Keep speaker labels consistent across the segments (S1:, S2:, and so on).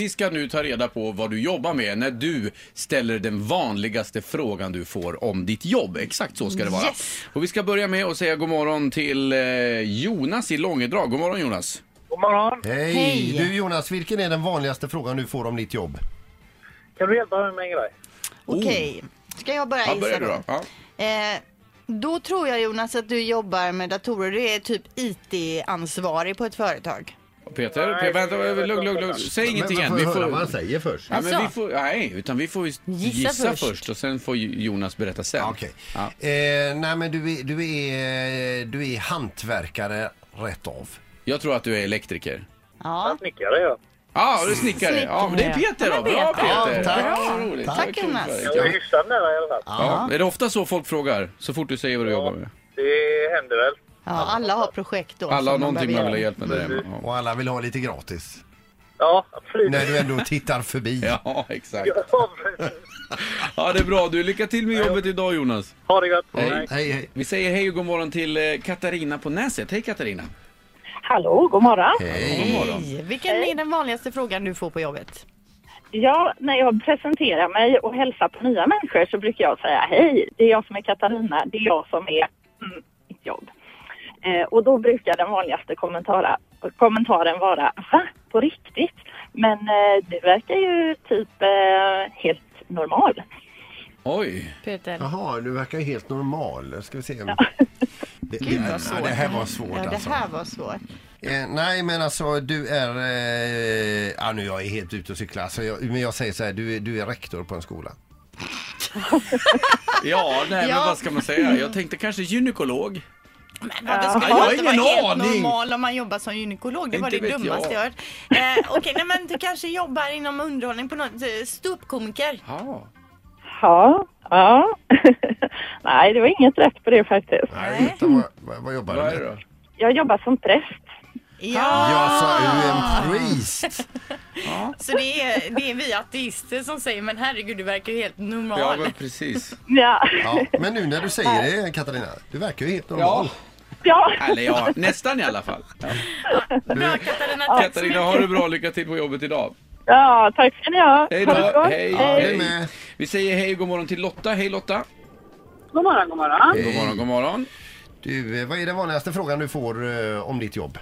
S1: Vi ska nu ta reda på vad du jobbar med när du ställer den vanligaste frågan du får om ditt jobb. Exakt så ska det vara.
S2: Yes.
S1: Och vi ska börja med att säga god morgon till eh, Jonas i Långedrag. God morgon Jonas.
S3: God morgon.
S4: Hej.
S2: Hej.
S4: Du Jonas, vilken är den vanligaste frågan du får om ditt jobb?
S3: Kan du hjälpa mig med en grej?
S2: Okej, ska jag börja
S1: Oh. Ja,
S2: gissa
S1: börjar du
S2: då?
S1: då. Ja.
S2: Eh, då tror jag Jonas att du jobbar med datorer. Du är typ IT-ansvarig på ett företag.
S1: Peter,
S3: Nej,
S1: Pe- vänta,
S3: jag vet
S1: lugn, lugn, lugn.
S3: inte.
S1: Säg ingenting
S4: men,
S1: än.
S4: men
S1: Vi
S4: får jag höra vad han
S1: får,
S4: säger först?
S1: ja, men vi
S2: Alltså.
S1: får, nej, utan vi får ju gissa,
S2: Gissa
S1: först.
S2: först.
S1: och sen får ju Jonas berätta sen.
S4: Ah, Okej.
S1: Ja.
S4: Eh, nej men du är, du, är, du är hantverkare rätt av.
S1: Jag tror att du är elektriker.
S2: Ja.
S3: Snickare, ja.
S1: Ja, du är snickare.
S2: Snickare.
S1: Ja, men det är Peter då.
S2: Ja, men
S1: Bra
S2: Peter.
S1: Peter.
S4: Ja, tack.
S1: Ja, vad roligt.
S4: Tack,
S1: Det var kul
S2: Jonas.
S1: för dig.
S3: Jag
S1: Ja.
S3: är hyfsad nära i alla fall.
S1: Ja. Är det ofta så folk frågar så fort du säger vad du jobbar med?
S3: Det händer väl.
S2: ja, alla har projekt då.
S1: Alla har
S2: som de
S1: någonting man
S2: behöver
S1: vill ha
S2: göra.
S1: hjälp med. Där. hemma.
S4: Och alla vill ha lite gratis.
S3: Ja, absolut.
S4: När du ändå tittar förbi.
S1: Ja. ja, exakt.
S3: Ja, precis.
S1: Ja, det är bra. Du, lycka till med jobbet idag Jonas.
S3: ha det gött.
S4: Hej, hej, hej.
S1: Vi säger hej och god morgon till eh, Katarina på Näset. Hej Katarina.
S5: Hallå, god morgon.
S4: Hej.
S1: God morgon.
S2: Hej. Vilken är den vanligaste frågan du får på jobbet?
S5: Ja, när jag presenterar mig och hälsar på nya människor så brukar jag säga hej, det är jag som är Katarina, det är jag som är mm, mitt jobb. Eh, och då brukar den vanligaste kommentara, kommentaren vara va, på riktigt? Men eh, du verkar ju typ eh, helt normal.
S1: Oj.
S2: Peter?
S4: Jaha, du verkar ju helt normal. Ska vi se. Det,
S2: Gud vad
S4: ja,
S2: svårt.
S4: det här var svårt
S2: ja,
S4: alltså.
S2: det här var svårt.
S4: Eh, nej men alltså du är... Eh, ja, nu jag är helt ute och cyklar. Alltså, jag, men jag säger så här, du är, du är rektor på en skola.
S1: Ja, nej, men
S2: Ja.
S1: vad ska man säga? Jag tänkte kanske gynekolog.
S2: Men varför
S1: Ja,
S2: skulle
S1: jag har
S2: man inte vara
S1: ingen
S2: helt
S1: aning.
S2: normal om man jobbar som gynekolog? Det var
S1: Inte
S2: det
S1: vet
S2: dummaste jag
S1: jag.
S2: hört. Eh, Okej, nej, men du kanske jobbar inom underhållning på något, eh, ståuppkomiker.
S1: Ja.
S5: Ja, ja. Nej, det var inget rätt på det faktiskt.
S4: Nej. Utan, vad, vad, vad jobbar
S1: Vad är
S4: du
S1: det
S4: med?
S1: då?
S5: Jag jobbar som präst.
S2: Ja,
S4: Jag sa alltså, du är en priest.
S2: så det är, det är vi ateister som säger men herregud du verkar ju helt normal.
S1: Ja, men precis.
S5: Ja,
S4: Ja, men nu när du säger det Katarina, du verkar ju helt normal.
S5: ja.
S1: Eller ja, nästan i alla fall. Ja.
S2: Bra Katarina, tack så
S1: Katarina,
S2: mycket.
S1: ha det bra. Lycka till på jobbet idag.
S5: ja tack ska ni ha.
S1: Hej
S5: Ha det så
S1: då.
S5: gott.
S1: Hej.
S4: Jag är
S1: Hej.
S4: med.
S1: Vi säger hej och god morgon till Lotta. Hej Lotta.
S5: God morgon, god morgon.
S1: God morgon, god morgon.
S4: Du, eh, vad är den vanligaste frågan du får eh, om ditt jobb?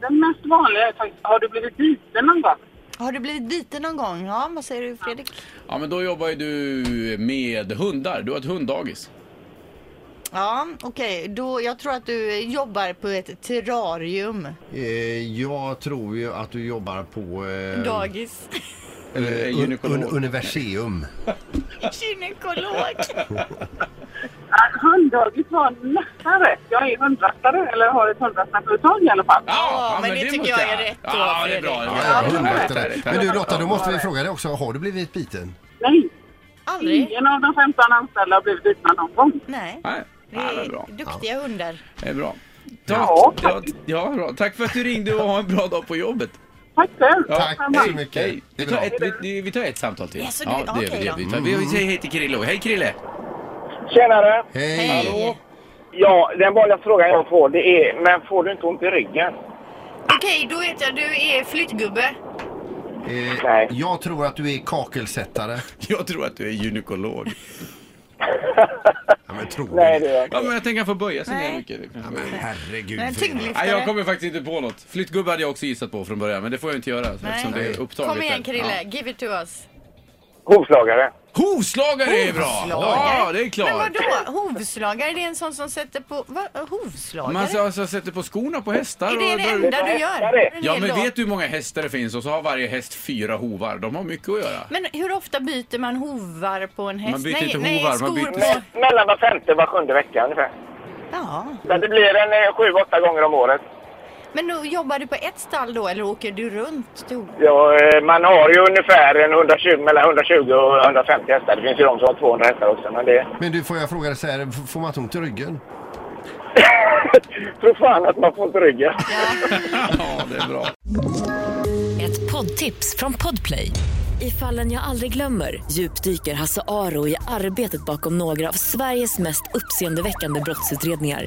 S5: Den mest vanliga är faktiskt, har du blivit biten någon gång?
S2: Har du blivit biten någon gång? Ja, vad säger du Fredrik?
S1: Ja, men då jobbar ju du med hundar. Du har ett hunddagis.
S2: Ja, okej. Då Jag tror att du jobbar på ett terrarium.
S1: Ehm.
S4: Eh, jag tror ju att du jobbar på... Eh,
S2: Dagis.
S1: Eller är
S4: eh, un, un,
S1: gynekolog.
S4: universium.
S2: Gynekolog.
S5: Hunddagis var nästan rätt. Jag är hundrastare, eller har ett hundrastarföretag i alla fall.
S2: Ja, men det tycker
S1: måste
S2: jag är rätt då,
S1: Ja, det är bra.
S2: Fredrik.
S1: Det
S4: Ja,
S1: är bra.
S4: ja, hundra
S1: Ja,
S4: efter
S1: det är
S4: det.
S1: rätt.
S4: Men du Lotta, då måste vi fråga dig också. Har du blivit biten?
S5: Nej,
S2: Aldrig?
S5: ingen av de 15 anställda har blivit bitna någon gång.
S2: Nej.
S1: Nej,
S2: Det
S1: ja, men bra.
S2: är duktiga hundar.
S1: Det är bra.
S5: Ja,
S1: Tack. Ja, ja, bra. Tack för att du ringde och ha en bra dag på jobbet.
S5: Tack själv.
S1: Ja.
S4: Tack
S5: Samma.
S4: så mycket.
S1: Hej. Vi
S4: Det är
S1: tar
S4: bra.
S1: ett, vi- vi, vi tar ett samtal till.
S2: Ja, så du-
S1: Ja, det gör vi.
S2: okej
S1: det gör
S2: då.
S1: vi. Vi tar- Vi säger hej till Krillo. Hej Krille!
S3: Tjenare!
S4: Hej!
S2: Hej.
S3: Ja, den vanliga frågan jag får det är, men får du inte ont i ryggen?
S2: Okej, då vet jag. Du är flyttgubbe.
S4: Eh,
S3: Nej.
S4: jag tror att du är kakelsättare.
S1: Jag tror att du är gynekolog.
S4: Ja, men tror
S3: Nej,
S4: du
S3: det är
S1: Ja, men jag tänker att han får böja sig ner
S2: Nej.
S1: mycket. Det kanske
S4: Men
S1: blir-
S4: herregud.
S2: Nej,
S4: Frida.
S2: tyngdlyft.
S1: Nej, jag kommer faktiskt inte på något. Flyttgubbe hade jag också gissat på från början, men det får jag inte göra eftersom det är upptaget.
S2: Kom igen
S1: där.
S2: Krille,
S1: Ja.
S2: give it to us.
S3: Hovslagare.
S1: Hovslagare är bra!
S2: Hovslagare?
S1: Ja, det är
S2: Men
S1: klart.
S2: vadå, hovslagare? Det är en sån som sätter på... Va, hovslagare?
S1: Man så, så sätter på skorna på hästar
S2: är
S1: och
S2: Alltså, det
S1: drar
S2: det
S1: ut-
S2: enda du gör?
S3: Hästar är-
S2: En
S1: Ja,
S2: hel
S1: men
S2: dag.
S1: vet du hur många hästar det finns? Och så har varje häst fyra hovar. De har mycket att göra.
S2: Men hur ofta byter man hovar på en häst?
S1: Man byter inte hovar, man
S2: skor
S1: byter-
S2: på...
S3: Me- mellan var femte var sjunde vecka ungefär.
S2: Ja.
S3: Så det blir en eh, sju, åtta gånger om året.
S2: Men då jobbar du på ett stall då eller åker du runt? till hov-
S3: Ja, eh, man har ju ungefär en 120, mellan 120 och 150 hästar. Det finns ju de som har 200 hästar också, men det...
S4: Men du, får jag fråga dig så här, f- får man inte ont i ryggen?
S3: Tro fan att man får ont i ryggen.
S1: Ja, det är bra.
S6: Ett poddtips från Podplay. I fallen jag aldrig glömmer djupdyker Hasse Aro i arbetet bakom några av Sveriges mest uppseendeväckande brottsutredningar.